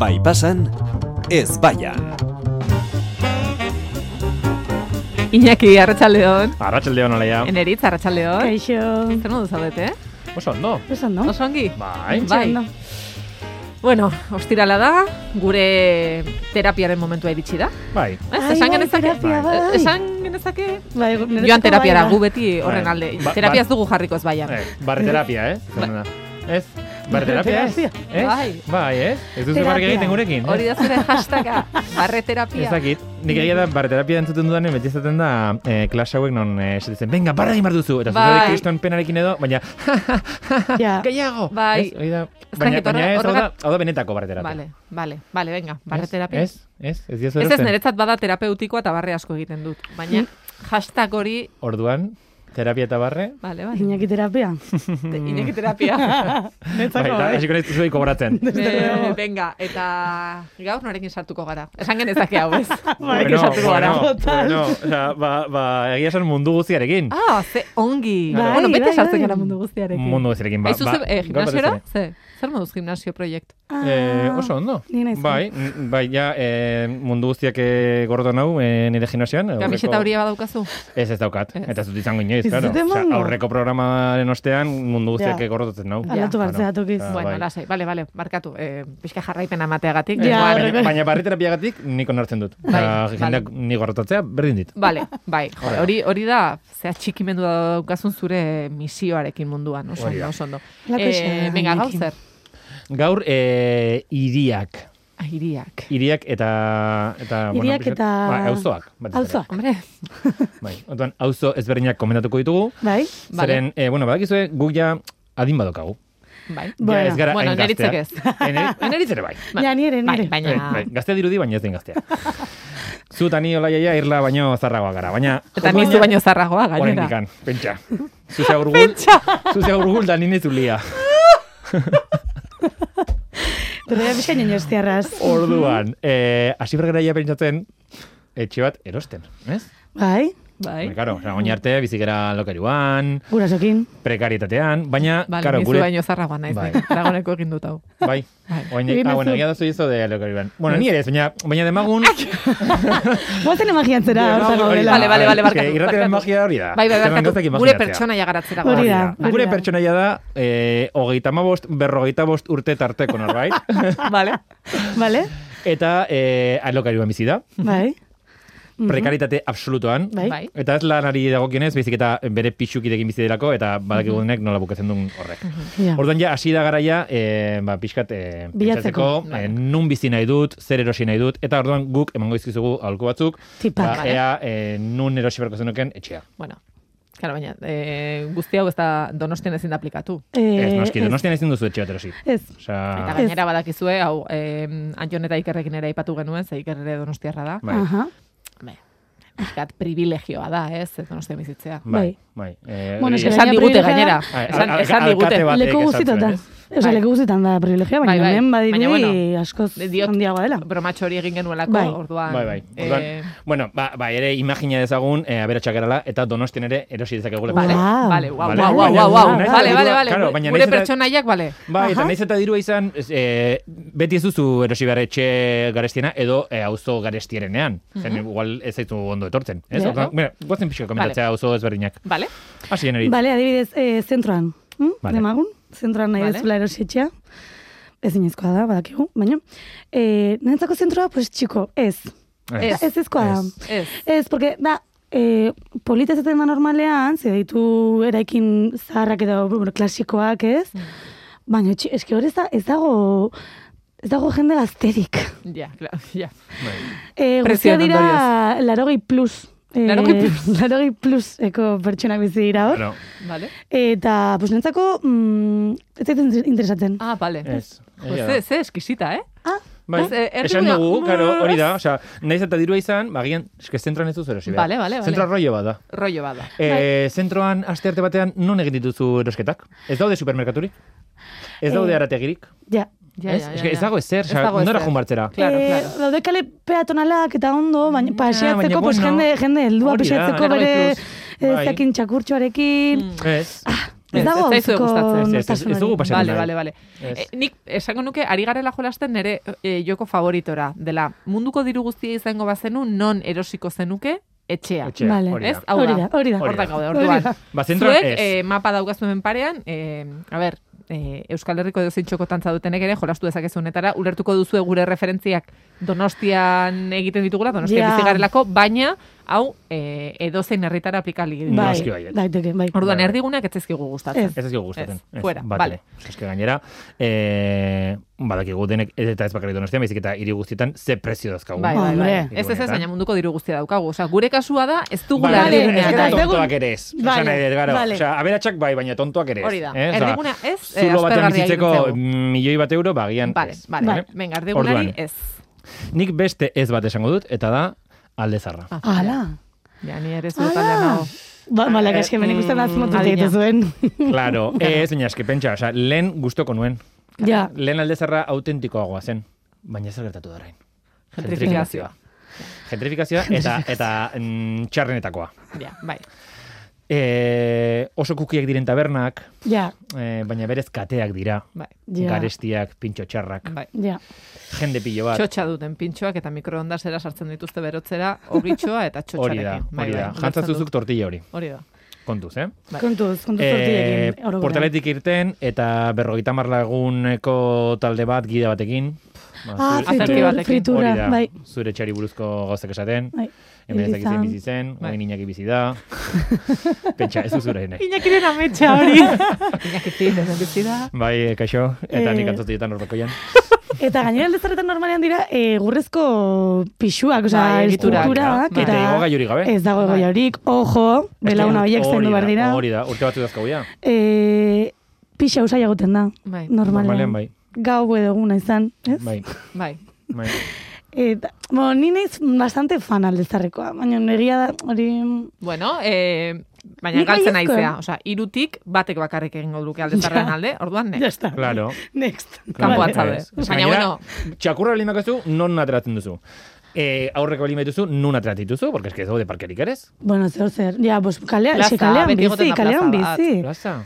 Bai pasan, ez baian. Iñaki, arratsaldeon. Arratxalde hon aleia. Eneritz, arratsaldeon. Kaixo, Zer modu zaudete? eh? Oso, no? esan no? Oso ongi? Bai. Bai. Bueno, ostirala da, gure terapiaren momentua iritsi da. Bai. Ez, Ai, esan bai, genezake, terapia, Eh, bai. esan genezake, Bai, niretzako joan terapiara, bai da. gu beti horren Bai. alde. Ba- Terapia ez ba- dugu jarriko ez baian. Eh, barre terapia, eh? Izan da. Ez? Barre terapia, ez? Barreterapia. Ez? Bai. Bai, ez? Ez duzu Terapia. barrik egiten gurekin? Hori da zure hashtaga, barre Ez terapia. dakit, nik egia da barre terapia entzuten dudanen beti izaten da eh, klase hauek non eh, esaten zen, venga, barra egin behar duzu, eta Bai. zuzare kriston penarekin edo, baina, ja, Ja. gehiago! Bai. Ez, hori da, Ez baina, dakit, baina horre- ez, hau da, horregat- hau da benetako barre terapia. Vale, vale, vale, venga, barre terapia. Ez, ez, ez, ez, Ez ez, ez niretzat bada terapeutikoa eta barre asko egiten dut. Baina hashtag hori, Orduan, terapia eta barre, vale, bai, Iñaki terapia. Iñaki terapia. bai, eta hasiko nahiz zuei kobratzen. Be, venga, eta gaur norekin sartuko gara. Esan genezake hau, ez? Norekin sartuko gara. Total. Bueno, osea, ba, ba, egia esan mundu guztiarekin. Ah, ze ongi. Bai, bueno, beti bai, sartzen bai. gara mundu guztiarekin. Mundu guztiarekin, ba. Aizu ba, ze, eh, gaur batez gimnasiora? ere. Ze, zer moduz gimnasio proiektu? Eh, oso ondo. Ah, Ni naiz. Bai, n- bai, ja, eh, mundu guztiak eh, gordo nau eh, nire gimnasioan. aurreko- Kamiseta hori badaukazu? Ez ez daukat, Ez. eta ez dut izango inoiz, Ez claro. dut emango. Osea, aurreko programaren ostean mundu guztiak eh, Ja. yeah. gordotzen nau. Ja. Aldatu behar Bueno, zera tokiz. Ah, bueno, bai. lasai, bale, bale, markatu. Eh, pixka jarraipena emateagatik. Ja, Eh, Gaur- horreko- baina, baina barri terapiagatik nik onartzen dut. Bai, Eta bai. jendeak ni gorrotatzea berdin dit. Bale, bai, jo, hori hori da, zea txikimendu daukazun zure misioarekin munduan, oso Hori ondo, da. oso ondo. Lako Eh, izan, venga, gaur Iñaki. zer? Gaur, eh, iriak. Airiak. Iriak eta... eta Hiriak pixkat- eta- Ba, auzoak. batez ere. Auzoak. Hombre, Bai, orduan, auzo ezberdinak komentatuko ditugu. Bai? Vale. Zeren, eh, bueno, badakizue, guk ja adin badokagu. bai. Ja, Bueno. ez gara Bueno, hain gaztea. neritzek ez. Eh, neri- Neritz ere bai. Ba- Ja, nire, bai, nire. baina... Eh, bai. Gaztea dirudi, baina ez den gaztea. Zu eta ni olaia ja, irla baino zarragoa gara. Baina, Eta ni zu baino zarragoa gainera. Horrendikan, pentsa. Zuzea urgul, zuzea urgul da nine zulia. Torrea pixka nien estiarraz. Orduan, eh, hasi bergara ja pentsatzen, etxe bat erosten, ez? Bai. Bai? Baina, Karo, oza, oin arte bizigera lokeruan, Gurasokin. prekarietatean, baina, Vale, karo, ni zu gure... baino zarragoa naiz, Bai. nik Dagoeneko egin dut hau. Bai, Bai. oin, Egin ah, bueno, duzu. egia da zuizo de lokeruan. Bueno, ni ere, ez, baina, baina demagun... Guazen imagiatzera horta gaudela. Vale, vale, vale, Eske, barkatu, Irratiaren barkatu. magia hori da. Bai, bai, Zelan barkatu, gauzak gure Ah, imaginatzea. pertsonaia garatzera Hori da. goaz. Hori Gure da. pertsonaia da, eh, hogeita mabost, berrogeita bost urte tarteko norbait. Vale. Vale? Eta eh, alokairuan bizi da, Bai? prekaritate absolutuan. Bai? Bai. Eta ez lanari dagokionez, baizik eta bere pixukidekin bizi delako eta Mhm. badakigunek nola bukatzen duen horrek. Ja. Orduan ja hasi da garaia, eh, ba pixkat eh, Bilatzeko. Bai. pentsatzeko, eh, nun bizi nahi dut, zer erosi nahi dut eta orduan guk emango dizkizugu aholku batzuk, Tipak. ba, ea eh, nun erosi beharko zenuken etxea. Bueno, claro, baina, eh, guzti hau ez da donostian ezin da aplikatu. Eh, ez, noski, ez. Eh. donostian ezin duzu etxe bat erosi. Ez. Eta Osea, gainera badakizue, hau, eh, Antion eta Ikerrekin ere aipatu genuen, ze Iker ere donostiarra da. bai. Aha. Be, Bizkat privilegioa da, ez, ez donostian bizitzea. Bai, Bai. bai. Eh, Bueno, hori- eske Esan digute gainera, Ai, esan, al- al- esan alkate digute. bat. Batek Leku esan guztietan da. zuen, Osa, Bai. leku guztietan da privilegioa, baina Bai, bai. hemen badirudi Baina, bueno, askoz diot- handiagoa dela. Bromatxo hori egin genuelako, Bai. orduan. Bai, bai. eh, Orduan, bueno, ba, ba, ere imagina dezagun, e, aberatsak erala, eta donostian ere erosi dezakegula. Vale, Wow. vale, wow, Vale. wow, wow, Baina, wow, wow. nahiz eta Vale, dirua- vale, vale. Claro, baina Gure nahiz eta- pertsonaiak, vale. Bai, eta Aha. nahiz eta dirua izan, ez, e, beti ez duzu erosi behar etxe garestiena edo e, auzo garestierenean. Zen, igual ez zaitu ondo etortzen. Ez? Ja. Orduan, Mira, guazen pixka komentatzea auzo ezberdinak. Vale, Hasi Bai. generit. Bale, adibidez, eh, zentroan. Hm? Vale. Demagun, zentroan nahi Vale. vale. dezula erosietxea. Ez inezkoa da, badakigu, baina. Eh, Nentzako zentroa, pues txiko, ez. Eh, Ez. Ez ezkoa da. Ez. ez. Ez, porque da, eh, polita ez da normalean, ze ditu eraikin zaharrak edo bueno, klasikoak, ez? Mm. Baina, etxe- eske hori ez, da, ez dago... Ez dago jende gazterik. Ja, claro, ja. bai. E, guztia Prezioen dira larogei plus. E, 80 plus. larogei plus eko pertsonak bizi dira hor. Bueno, Vale. Eta, pues nentzako, mm, ez zait inter- interesatzen. Ah, vale. ez. Jo, Egia da. ze, ze eskisita, eh? Ah, Bai, Ez, eh, esan erdiguna- dugu, karo, hori da, osea, nahiz eta dirua izan, bagian, eske zentran ez duzu erosi behar. Vale, vale, Bai. vale. Zentroa rollo bat da. Rollo bada. E, zentroan, aste arte batean, non egin dituzu erosketak? Ez daude supermerkaturik? Ez daude Eh, arategirik? ja. Ja, ez? ja, ja, Eske, ez ja. dago ezer, Ez osea, dago nora ezer. joan bartzera? Claro, Eh, claro. Mm. Daude kale peatonalak eta ondo, baina paseatzeko, Ah, baina pues, bueno, jende, jende heldua hori da, Bai. paseatzeko berrogei bere plus. eh, Bai. Mm. zakin txakurtxoarekin. Ez. Ez dago Ez zaizue auzoko gustatzen. Ez, ez, ez dugu nortasunari. Pasatzen Bale, nahi. bale, bale. Ez. E, nik esango nuke, ari garela jolasten nere e, joko favoritora. Dela, munduko diru guztia izango bazenu, non erosiko zenuke, etxea. Etxea, Vale. hori Ez? da. Hau Hori da, da. hori da. Hor Hortak da. gaude, Hori orduan. da. Ba, zentroan Zuek, ez. eh, mapa daukazuen parean, eh, a ber, eh, Euskal Herriko edo txokotantza dutenek ere jolastu dezakezunetara, ulertuko duzu gure referentziak donostian egiten ditugula, donostian Ja. bizi bizigarelako, baina, hau, eh, edozein herritara aplikali. Ba. Bai, Noski baietz. daiteke, bai. Orduan, Bai, bai. erdigunak ez zaizkigu gustatzen. Ez. Ez ez dugu gustatzen. Ez, fuera, bat vale. ere. Eske gainera, eh, badakigu denek, ez eta ez bakarrik donostian, baizik eta hiri guztietan ze prezio Ba, dazkagu. Bai, bai, bai. Hombre. Ez ez ez, baina munduko diru guztia daukagu. Osea, gure kasua da, ez dugula Vale, erdigunea. ez ez da que tontoak tontoak ere ez. Vale, Vale, gara, vale. Osea, aberatsak bai, baina tontoak ere ez. Hori da. Eh, osea, Erdiguna ez, eh, Zulo batean aspergarria bizitzeko iruditzen milioi bat euro, bagian Vale, ez. vale. Vale. Venga, erdigunari Orduan. ez. Nik beste ez bat esango dut, eta da aldezarra. Ah, Ala. Ja, ni ere zure taldean Ala. nago. Ba, bala, kaske, ben ikusten bat motu Eh, mm, Adina. egiten zuen. Claro, ez, baina eske pentsa, osea, lehen gustoko nuen. Ja, Lehen aldezarra autentikoagoa zen, baina zer gertatu da orain. Gentrifikazioa. Gentrifikazioa eta eta mm, txarrenetakoa. Ja, bai. E, oso kukiak diren tabernak, ja, e, baina berez kateak dira. Bai. Ja. Garestiak, pintxo txarrak, Bai. ja. jende pilo bat. Txotxa duten pintxoak eta mikroondasera sartzen dituzte berotzera, ogitxoa eta Hori txotxarekin. da, Bai, hori bai, da. ulertzen Jantzaz dut. duzuk tortilla hori, Hori da. kontuz, eh? Bai. Kontuz, kontuz E, zortiekin. orokorrean. portaletik irten eta berrogeita marlaguneko talde bat gida batekin. Ba, Ah, zure- fritura, zure- fritura, batekin. fritura, hori da, bai. Zure txari buruzko gauzak esaten. Bai, Hemen ez hil dakitzen izan. bizi zen, Bai. oin inaki bizi da. Pentsa, ez eh. uzura nahi. Inakiren ametsa hori. Inakirin, ez bizi da. Bai, eh, kaixo, eta Eh. nik antzatietan horbakoian. Eta gainera aldezarretan normalean dira e, gurrezko pixuak, oza, Bai, egiturak, eskulturak, bai. eta... Eta igo gaiurik gabe. Ez Bai. dago egoia horik, ojo, belauna horiek zaindu behar dira. Hori da, urte batzu dazkagu ja. E, pixa usai egoten da, Bai. normalean. Normalean, bai. Gau edo eguna izan, ez? Bai, Bai. bai. Eta, bo, ni naiz bastante fan aldezarrekoa, baina negia da, hori... Bueno, eh, baina Nik galtzen baiezkoa. aizea. Osea, irutik batek bakarrik egingo luke aldezarren Ja. alde, orduan ne. Ya está. Claro. Next. Kanpo Vale. atzaude. Ez. Baina, Gainera, bueno. Txakurra bali makazu, non ateratzen duzu. E, aurreko bali duzu, non ateratzen duzu, porque eske ez daude parkerik ere ez. Bueno, zer, zer. Ja, bos, kalea, Plaza, xe, kalean beti bizi, egoten da kalean plaza bat. bizi. Plaza.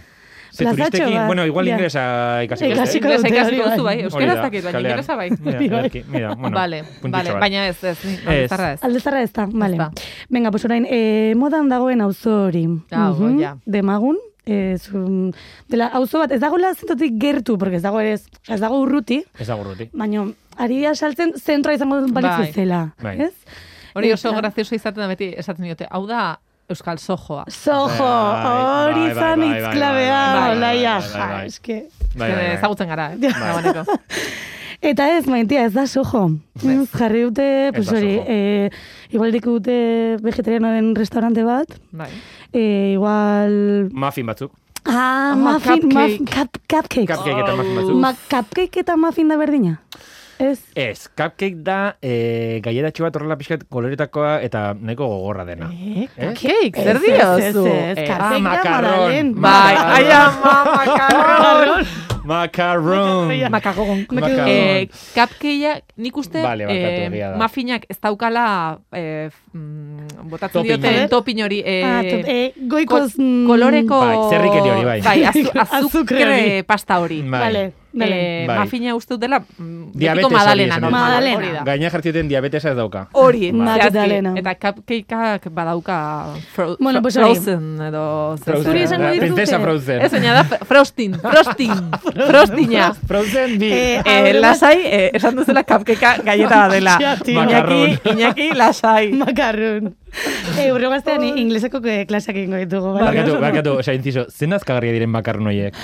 Ze Plazatxo turistekin, bat, bueno, igual ja. ingresa ikasiko. ez, eh? Ikasiko Inglesa dute, ikasiko hori bai. duzu bai, Hori euskera ez da, dakit, baina kalean. ingelesa bai. Ja, Bai. ederki, mira, bueno, Vale, puntitxo vale, bat. baina ez, ez, ni, aldezarra ez. Aldezarra ez da, vale. da. Venga, pues orain, e, modan dagoen auzo hori. Ah, Mhm, bo, ja. Demagun, e, zu, dela, auzo bat, ez dagoela zentotik gertu, porque ez dago ere, ez, ez dago urruti, Ez eh? da gorruti. baina ari da saltzen zentroa izango balitz Bai. bezala. Bai. Ez? Hori oso Eta- grazioso izaten da beti esaten diote. Hau da Euskal Sojoa. Sojo, Bai, hori bai, izan bai, bai, bai, itzklabea, bai, olaia, bai, bai, bai, ja, bai. eske. Bai, bai, bai. Ezagutzen gara, eh? Nagoeneko. Eta ez, maitia, ez da sojo. Ez jarri dute, pues Ez da hori, sojo. e, igual diku dute vegetarianoen restaurante bat, Bai. e, igual Muffin batzuk. Ah, Ah, muffin, cupcake. muff- cup, cupcakes. Cupcake eta muffin batzuk. Ma, cupcake eta muffin da berdina. Ez. Ez, cupcake da e, galleratxo bat horrela pixkat koloretakoa eta nahiko gogorra dena. Eh? Cake, zer Ez, ez, diozu? ez, ez, Eh, cupcake ah, da Ah, macarrón. madalen. Bai, ai ama, makarron. Macaron! Makagogon. Macaron. Eh, cupcakeak, nik uste, Vale, barkatu, eh, egia da. mafinak ez daukala eh, f- mm, botatzen Topping. diote Eh? topin hori. Eh, Ah, top- eh, ko- goikoz... mm, koloreko... Bai, zerrikeri hori, bai. azu, Azukre azukre hori. pasta hori. Bai. Vale, vale. Eh, Bai. Mafina uste dut dela, mm, Diabetes betiko hori madalena esan normal. dut. Madalena. Hori da. Gaina jartioten diabetesa ez dauka. Hori, Bai. zehazki. Magdalena. Eta cupcakeak badauka fro Bueno, pues hori. frozen edo... zer- Frozen. Zuri esango Da, dituzte. Princesa Frozen. Ez baina da fr- frosting, frosting, frostina. Frozen bi. Eh, Eh, aurre bat- lasai, eh, esan duzela cupcakea galleta bat dela. Ja, tio. Iñaki, Iñaki, lasai. Makarrun. Eh, urrego astean i- ingleseko eh, klasak egingo ditugu. bai. Barkatu, barkatu, osea, inciso, zen azkagarria diren makarron horiek?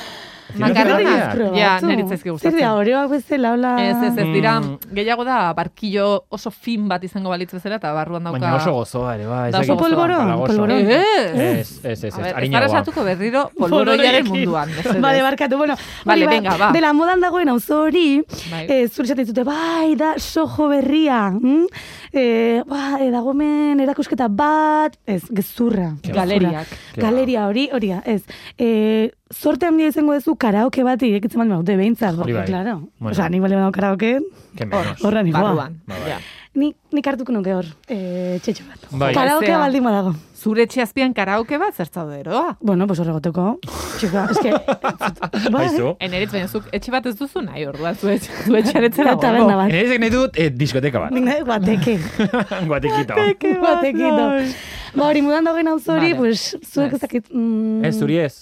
Zein Makarronak? azkargarriak? Probatu. Ja, niri ez zaizkit gustatzen. Zer da, oreoak bezala, hola... Ez, ez, ez dira, Mm. gehiago da, barkillo oso fin bat izango balitz bezala, eta barruan dauka... Baina oso gozoa ere, bai. ez Da dakit. oso polvoron, Balagozo. polvoron. Ez, Ez, ez, ez, ez, A ber, ez gara harinagoa. sartuko berriro polboroiaren Polboroiarekin. munduan. mesedez. Bale, barkatu, bueno. Bale, hori ba, venga, ba. Dela modan dagoen auzo hori, Bai. eh, zure esaten zute, bai, da sojo berria. Mm? Eh, ba, eh, dago hemen erakusketa bat, ez, gezurra. Ke gezurra. Galeriak. Ke Galeria hori, hori da, ez. Eh, sorte handia izango duzu karaoke bat irekitzen baldin badute behintzat, Hori porque, bai. claro. Bueno. Osea, nik bale badau karaoke, Ke Hor, menos. horra nigoa. barruan. Ba, bai. Ja. Nik, nik hartuko nuke hor, e, txetxo bat. Bai. Karaoke Zea. baldin badago. Zure txazpian karaoke bat zertzaude eroa. Bueno, pues horregoteko. Txika, eske... bai, Aizu. Eneritz baina zuk etxe bat ez duzu nahi orduan zu etxe, zu etxaretzera Eta taberna bat. Enerezek nahi dut eh, diskoteka bat. Nik nahi- Bateke. Guatekita. Bateke. da. Ba, hori mudan dagoen hau zori, Vale. pues, zuek ez dakit... Mm, Ez, zuri ez.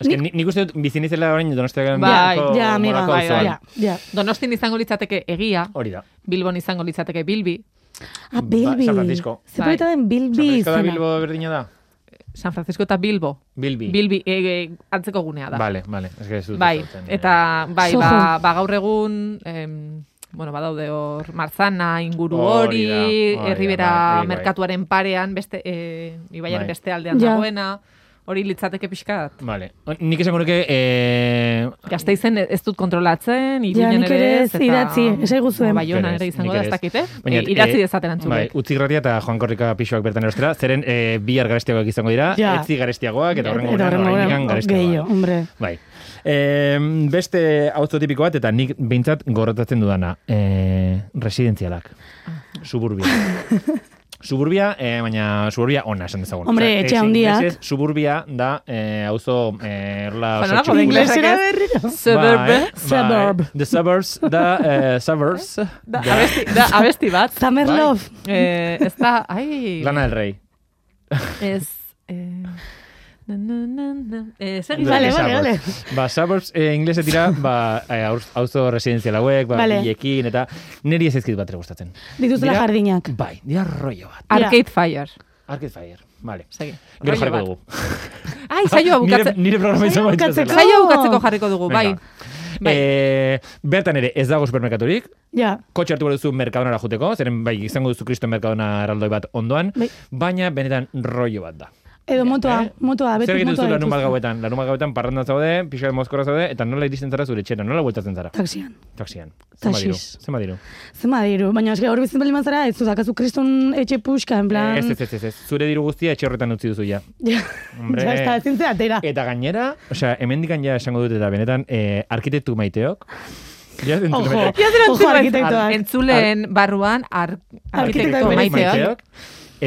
Ez que ni- nik uste dut bizinizela orain donostiakan Bai, Bilboko Ja, amiga, Monaco bai, bai, auzoan. ja, ja. Donostin izango litzateke egia, Hori da. Bilbon izango litzateke Bilbi, Ah, Bilbi. Ba, San Francisco. Ze polita den San Bilbi Francisco da izena. Bilbo berdina da? San Francisco eta Bilbo. Bilbi. Bilbi e, e, antzeko gunea da. Vale, vale. Ez que ez dut Bai, ezagutzen, eh. eta bai, Soho. ba, ba gaur egun, em, bueno, badaude hor Marzana, inguru Hori hori, da, hori da, bai, Herribera hori bai. merkatuaren parean, beste, e, Ibaiaren Bai. beste aldean Ja. dagoena, hori litzateke pixkat. Vale. Nik esango nuke eh Gasteizen ez ez dut kontrolatzen, irunen nik ere ere ez, ez, idatzi, esaiguzuen. Baiona Nik Bai, ere ere ez, izango nik da, ez ere ez. dakit, eh? Baina, E, idatzi eh, dezaten Bai, antzulek. utzi gratia eta Juan Korrika pixoak bertan erostera, zeren e, bihar garestiagoak izango dira, Ja. etzi garestiagoak, eta horrengo Eta gurean horrengo horrein gurean, gehiago, garestiagoak. hombre. Bai. E, beste auzo tipiko bat, eta nik behintzat gorrotatzen dudana, e, residentzialak, suburbia. Suburbia, e, baina suburbia ona esan dezagun. Hombre, Osea, etxe ez handiak. ingelesez, Suburbia da e, auzo e, horrela oso Bueno, txukun. inglesez. inglesera berriro. Bai, Suburb. Suburb. bai. The suburbs, da eh, suburbs, Da, abesti, da, abesti bat. Summer Bai. Love. Eh, ez da, ai... Lana del Rey. Ez... Eh, na, na, na, na. Eh, zer Vale, Los vale, suburbs. Ba, suburbs eh, inglese dira, ba, eh, aur- auzo residenzial hauek, ba, Vale. bilekin, eta niri ez ezkit bat ere gustatzen. Dituzela Dira- jardinak. Bai, dira rollo bat. Arcade Fire. Arcade Fire, vale. Segi. Gero Rollo jarriko bat. dugu. Ai, saioa Nire, bukatzen. nire programa izan Saioa baita bukatzeko. zela. Saioa bukatzeko jarriko dugu, bai. Venga. Bai. Eh, bertan ere, ez dago supermerkaturik, Ja. kotxe hartu behar duzu merkadonara juteko, zeren bai, izango duzu kristo merkadona erraldoi bat ondoan, Bai. baina benetan rollo bat da. Edo motoa, Eh? motoa, beti Zer egiten duzu motoa larun bat dituzte. gauetan? Larun bat gauetan parranda zaude, pixka de mozkorra zaude, eta nola iristen zara zure etxera, nola bueltatzen zara? Taxian. Taxian. Zenba diru? Taxiz. Zenba diru? Zema diru, baina eske hor bizitzen bali mazara, ez duzakazu kriston etxe puxka, en plan... Ez, ez, ez, ez, ez. Zure diru guztia etxe horretan utzi duzu ja. Ja, Hombre. ja, ez da, ezin zera atera. Eta gainera, osea, hemendikan ja esango dut eta benetan eh, arkitektu maiteok. Ja, entzun Ojo, maiteok. ojo arkitektoak. Entzulen barruan ar, Arkitekto arkitekto maiteak. maiteok.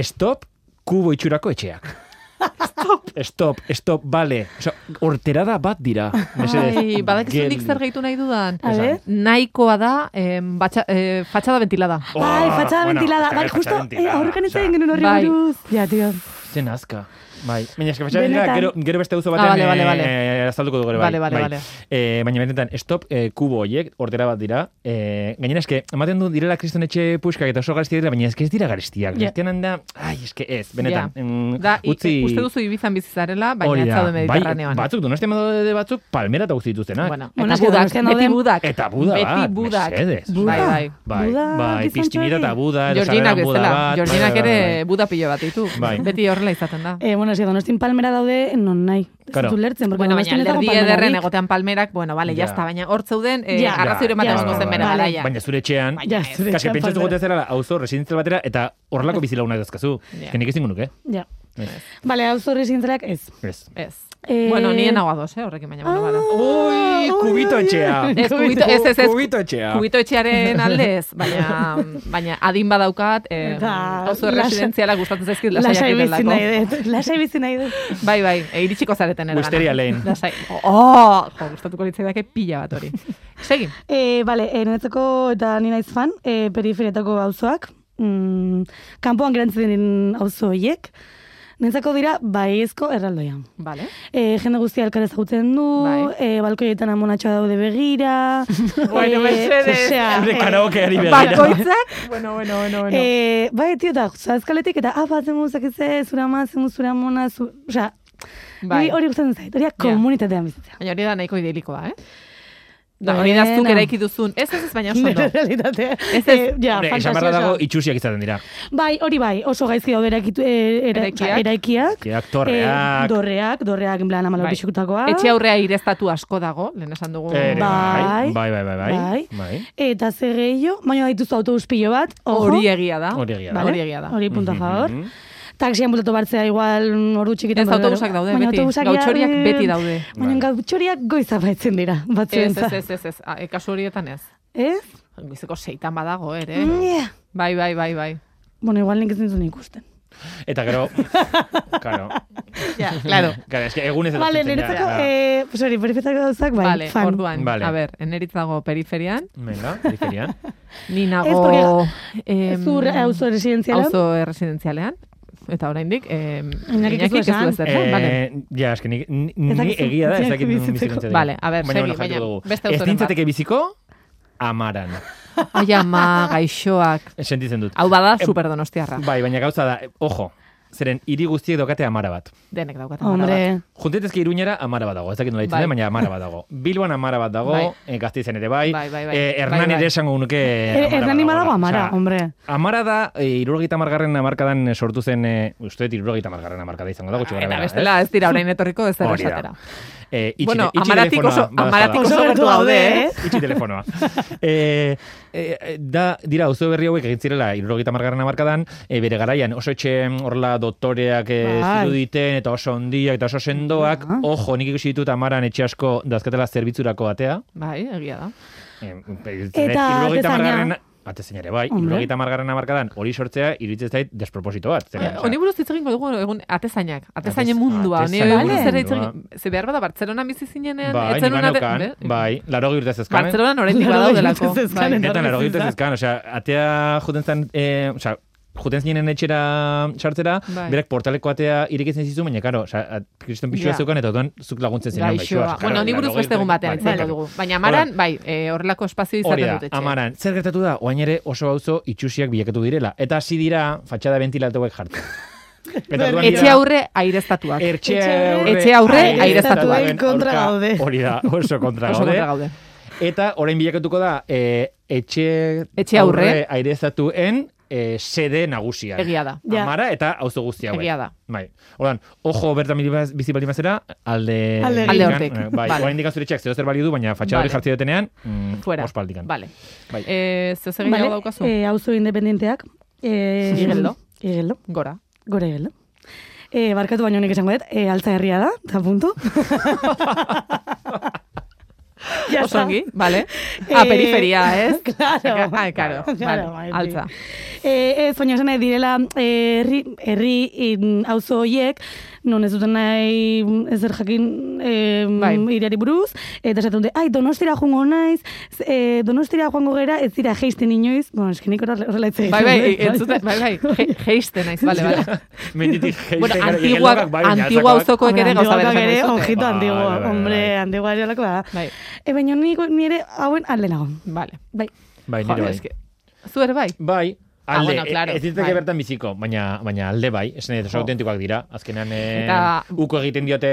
Stop kubo itxurako etxeak. Stop. Stop, stop, bale. Osea, horterada bat dira. Mesedez, Ai, badakizu gel- nik zer gehitu nahi dudan. A ber. Nahikoa da, em, batxa, eh, fatxada ventilada. Bai, Oh, fatxada bueno, ventilada. ez Bai, dakit justo, fatxada eh, ventilada. aurrekan ez Osea, egin genuen hori Bai. buruz. Ja, tio. Zen azka. Bai. Baina eske pasatzen dira, Benetan. gero, gero beste auzo Ah, batean bale, bale, bale. eh, azalduko dugu ere bai. Bale, bale, bai. bale. Eh, baina benetan, stop eh, kubo horiek, hortera bat dira. Eh, gainera eske, ematen du direla kriston etxe puxkak eta oso garestia dira, baina eske ez dira garestiak. Ja. Yeah. Garestian handa, ai, eske ez, benetan. Ja. Mm, Da, i- utzi... uste duzu ibizan bizi zarela, baina Hori ez da. zaude bai, mediterraneoan. batzuk, donostia daude batzuk, palmera eta utzi dituztenak. Bueno, Bueno, eta eske budak, donostian beti dauden- budak. Eta Buda beti bat, budak. mesedez. Bai, Buda. bai. Bai, Buda bai, gizontxoari. piztinida eta Buda, eta Georginak sarreran Buda bezala, bat. Georginak bai, bai, ere bai, bai. buda pilo bat ditu. Bai. Beti horrela izaten da. Eh, bueno, eske donostin palmera daude, non nahi. Ez Claro. dut lertzen, porque bueno, baina donostin ez dago alderdi ederren palmerarik. egotean palmerak, bueno, vale, Ja. ya está, baina hor zeuden eh, Ja. arrazoiren Ja, bat ja, emango zen bai, bere bai. garaia. Baina zure etxean, Ja, zure Kaske, etxean pentsatu palmera. gote zera auzo residentzial batera, eta horrelako bizilaguna dazkazu. Ja. Yeah. Genik ezin nuke. Ja. Ez. Vale, hau zorri zintzelak ez. Ez. Ez. Eh, Ah. Bueno, nien hau ados, eh, horrekin baina, bueno, bada. Ui, kubito etxea. Ez, kubito, ez, ez, ez. Kubito etxea. Kubito etxearen aldez, baina, baina adin badaukat, eh, Eta oso lasa- residenziala gustatzen zaizkit lasaiak Lasai bizi nahi direlako. dut. Lasai bizi nahi dut. Bai, bai, e, iritsiko zareten ergana. Wisteria lane. Lasai. Oh, jo, gustatuko litzaidake pila bat hori. Segi. E, bale, e, niretzako eta ni naiz fan, e, periferietako auzoak, mm, kanpoan gerantzen diren auzo horiek, niretzako dira baiezko erraldoia. Vale. E, jende guztia elkar ezagutzen du, Bai. e, balkoietan amonatxoa daude begira. Eh, Bueno, mesedez. Zure karaokeari Ba, begira. Ba, Bakoitzak, bueno, bueno, bueno, bueno. E, bai, tio, eta zaskaletik, eta ah, bat zemuz, ez, zura ama, zemuz, zura amona, zu... Osa, Bai. niri hori gustatzen zait, hori komunitatean bizitzea. Baina hori da nahiko idilikoa, eh? Da, hori da zuk Bueno. eraiki duzun. Ez, ez, ez, baina oso Nire ondo. realitatea. Ez, ez. Eh, ja, Hombre, esan fantasia barra dago osoa. itxusiak izaten dira. Bai, hori bai, oso gaizki daude eraikitu, e, era, Eraikiak. osea, eraikiak. Eraikiak, torreak. Eh, dorreak, dorreak, en plan, amalau Bai. pixukutakoa. Etxe aurrea ireztatu asko dago, lehen esan dugu. Ba, Ere, Bai. Bai, bai, bai, bai. Bai. Eta zer gehiago, baina dituzu autobus pilo bat. ojo. Hori egia da. Hori egia da. Vale? Hori egia da. Hori Mhm. punta favor. Taxian bultatu bartzea igual mm, ordu txikitan. Ez, baina autobusak gero- daude baina beti. autobusak Gautxoriak ja, eh, beti daude. Baina Bai. gautxoriak goiza baitzen dira, Ez, batzuen ez, ez, ez, ez. A, e, kasu horietan ez. Ez? Goizeko seitan badago, ere. Mm, yeah. Bai, bai, bai, bai. Bueno, igual nik ez nintzen ikusten. Eta gero, claro, Ja, claro. claro, eske egun ez Bale, etortzen ja, niretzako, ja. eh, pues hori, perifetako dauzak, bai, Vale, fan. orduan, Vale. a ber, eneritzago periferian, Venga, periferian. ni nago... Ez, porque- em, Zur, auzo eresidenziala. auzo erresidentzialean, eta oraindik, em, Iñaki ez du Iñakik ez du esan. ezer, Eh, vale. Ja, eske ni, ni, Ez ni dakizu egia da, ez bizitzeko dakit nun bizitzeko. bizitzen zaidan. Vale, a ber, baina, bueno, segi, jakituko baina dugu. beste Ez autoren bat. nintzateke biziko, amaran. Ai, ama, gaixoak. Sentitzen dut. Hau bada, Em, superdonostiarra. Bai, baina gauza da, eh, ojo, zeren hiri guztiek daukate amara bat. Denek daukaten. Hombre, Eh, Juntetezke iruñera amara bat dago, ez dakit nola ditzen Bai. den, baina amara bat dago. Bilboan amara bat dago, Bai. eh, gazteizen ere bai, Bai, bai, bai. Eh, Hernan Bai, bai. ere esango nuke Eh, Hernani badago dagoela. amara, Osea, hombre. Amara da, e, irurogeita margarren amarkadan eh, sortu zen, e, uste dut irurogeita margarren amarkada izango da, gutxi gara Ah, Eta bera, bestela, ez dira orain etorriko ez dara Hori da. esatera. Eh, itxi- Bueno, itxi amaratik telefonoa, oso, badaezpada. amaratik Oso oso gertu gertu gaude, gaude, eh? Itxi telefonoa. e, e, da, dira, auzo berri hauek egin zirela, irurogeita margarren amarkadan, e, bere garaian, oso etxe mm, horrela doktoreak e, Bai. Ah. ziruditen, eta oso ondiak, eta oso sendoak, Ja. ojo, nik ikusi ditut amaran etxe asko dazkatela zerbitzurako atea. Bai, egia da. E, Eta atezaina. Atezain ere, bai, Hombre. irurogeita margarren amarkadan, hori sortzea, iruditzen zait, desproposito bat. zeren, Eh, osea, Honi buruz hitz egingo dugu egun atezainak, atezainen Atez- mundua. Honi atezainen buruz ere hitz mundua. egin, ze behar bada Bartzelonan bizi zinenean, Bai, etzen nik una baneukan, bai, laro urtez ezkanen. Bartzelonan oraindik Laurogei badaudelako. urtez bai. ezkanen. Netan, Etorri laro zizan. ezkan, osea, atea juten zen, eh, osea, juten zinen etxera sartzera, Bai. berak portaleko atea irekitzen zizun, baina, karo, osea, at- kriston pixua Ja. zeukan, eta orduan zuk laguntzen zinen Gaixoa. Bueno, honi buruz beste egun batean hitz egingo dugu. Baina amaran, bai, eh, horrelako espazio Hori izaten da, dut etxe. amaran, zer gertatu da, oain ere oso auzo itxusiak bilakatu direla. Eta hasi dira, fatxada ventilatuak jartzen. Eta orduan Etxe dira- aurre aireztatuak. Etxe aurre, Etxe aurre aireztatuen aireztatuen kontra aurka. gaude. Hori da, oso kontra Oso gaude. kontra gaude. Eta orain bilakatuko da e, etxe, Etxe aurre. airestatuen e, sede nagusia. Egia da. Ja. Amara eta auzo guztia. Bai. Egia da. Bai. Ordan, ojo bertan bilibaz- bizi baldin bazera, alde Alde Alde hortik. hortik. Bai, Vale. oraindik azure etxeak zeo zer balio du, baina fatxada Vale. hori jartzi dutenean, mm, Fuera. ospaldikan. Vale. Bai. Eh, Zer zegin Vale, hau daukazu? eh, auzo independenteak. Eh, Igeldo. Igeldo, Gora. gore igeldo. Eh, barkatu baino nik esango dut, eh, altza herria da, eta punto. Ya está. Osongi, vale. Ah, Eh, periferia, ez? Claro. Ah, claro. Claro, vale. bai, bai. Altza. Eh, ez, baina esan nahi direla eh, herri, herri in, auzo hoiek, non ez duten nahi ezer jakin eh, Bai. iriari buruz, eta esaten dute, ai, donostira joango naiz, z- eh, donostira joango gera, ez dira jeisten inoiz, bueno, eskenik horrela hitz egiten Bai, bai, dut, entzuten, bai, bai, je- jeisten naiz, bale, bale. Menditik Bueno, jaisten gara, antiguak, igeldoak, bai, baina antigua atzakoak. auzokoek ere gauza Antiguoak bera ere, esaten dizute. ojito Bai, antiguo, bai, bai, hombre, bai. antiguo ere lako da. Bai, E, baina niko nire hauen alde nago. bale. Bai. Bai, nire Jo, bai. eske, Zu ere bai? Bai, Ah, alde, bueno, claro, e- ez diteke bai. bertan biziko, baina, baina alde bai, esan dut, oso Jo. autentikoak dira, azkenean eh, Eta- uko egiten diote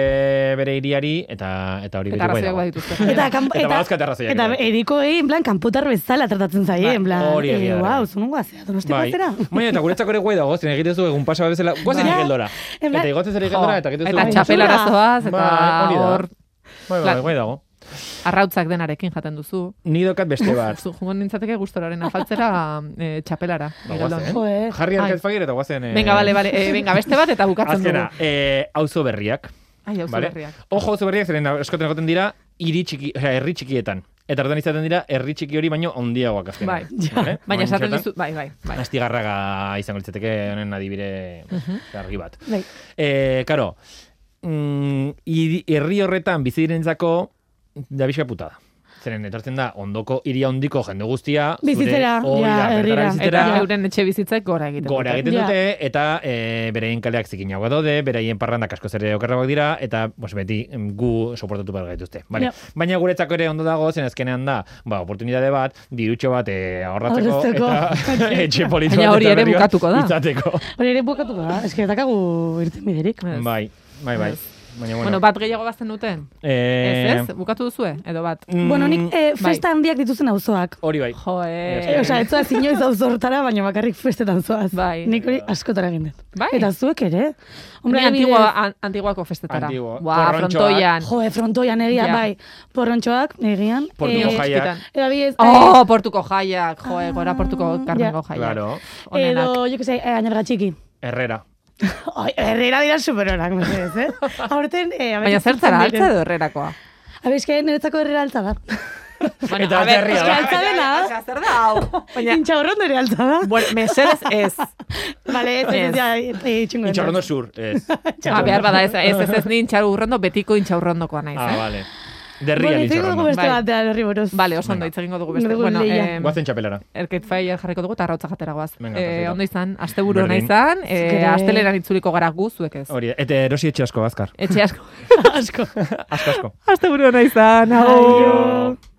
bere iriari, eta, eta hori Eta beti bai arrazoiak dago. badituzte. Eta, kanpo- Eta eta, badauzkat arrazoiak Eta ere. eriko egin, plan, kanpotar bezala tratatzen zaie, Bai, en plan, eh, hori egia da. wow, zunungo azea, donosti Bai. guazera. Baina eta guretzako ere guai dago, zen egiten zu egun pasa bezala, guazen Bai. igeldora. En plan- Eta igotzen zer Jo, igeldora, eta egiten zu... Eta Bai, txapel basura. arazoaz, eta Bai, hori da. hor Bai, bai, Plan- guai dago. arrautzak denarekin jaten duzu. Ni dokat beste bat. Zu jungo nintzateke gustoraren afaltzera eh, txapelara. Ba, Igeldon. guazen. Jo, eh. Jarri Ai. arket fagir eta guazen... eh, Venga, bale, bale, eh, venga, beste bat eta bukatzen dugu. Azkena, eh, auzo berriak. Ai, hau Vale? berriak. Ojo auzo berriak, zeren eskoten egoten dira, hiri txiki, osea, herri txikietan. Eta orduan izaten dira, herri txiki hori baino ondiagoak azkenean. Bai. Vale? Baina Orain esaten txotan, dizu, bai, bai, bai. Astigarraga izango litzateke honen adibide argi bat. Bai. Eh, karo, mm, hiri- herri horretan bizi direntzako da pixka puta da. Zeren etortzen da ondoko hiria hondiko jende guztia, Bizitzera, zure hori ja, da, bertara herrira. Eta bizitzera, euren etxe bizitzak gora egiten. gora dute. egiten Ja. dute, eta e, bereien kaleak zikinagoa daude, bereien parrandak asko ere okerragoak dira, eta bos, beti em, gu soportatu behar gaituzte. Vale. Ja. Baina guretzako ere ondo dago, zen azkenean da, ba, oportunitate bat, dirutxo bat eh, ahorratzeko, Ahorratzeko. eta etxe politu Baina bat hori eta ere berri bat bukatuko da. Izateko. Hori ere bukatuko da, eske dakagu irten biderik. Ez. Bai, bai, bai. Baina, bueno, Bueno, bat gehiago bazten duten? eh, Ez, ez? Bukatu duzue? Edo bat? mm, Bueno, nik eh, festa handiak dituzen auzoak. Hori bai. Jo, E, eh. Ez. Osa, ez zoaz inoiz auzo hortara, baina bakarrik festetan zoaz. Bai. Nik hori askotara egin dut. Bai. Eta zuek ere. Hombre, Hombre, antigua, an, antiguako festetara. Antiguo. Ba, Porrontxoak. frontoian. Jo, frontoian egia, Ja. bai. Porrontxoak, egian. Portuko Eh, jaiak. eskitan. Eta bidez, Oh, portuko jaiak. Jo, Ah. eh, gora portuko karmengo jaiak. Claro. Onenak. edo, jo que sei, eh, ainerga txiki. Herrera. Ai, herrera dira superonak, mesedez, eh? Aurten, eh, Baina zertzara, altza edo herrerakoa. Abeizke, niretzako herrera altza da. Bueno, Eta a ber, aterria eske da. altza dena. Osea, zer da hau? Baina, Intxaurrondo ere altza da. bueno, mesedez ez. Vale, ez, ez, Ez. ja, e, itxungo. Intxarrondo zur, ez. Ah, behar bada, ez, ez, ez, ez, ni intxaurrondo, betiko intxaurrondokoa naiz. Ah, eh? vale. Derrian Bueno, bueno, hitz egingo intxarrondo. dugu Bai. beste bat da, horri buruz. Vale, oso ondo hitz egingo dugu beste. Dugu Bueno, lehia. em, Guazen txapelara. Erkait fail jarriko dugu eta arrautza jatera goaz. Venga, Eh, perfecto. ondo izan, asteburu ona Berdin. izan, eh, Zure- asteleran itzuliko gara gu, zuek ez. Hori, eta erosi etxe asko, azkar. Etxe asko. asko. Asko, asko. asteburu ona izan, agur. Aio.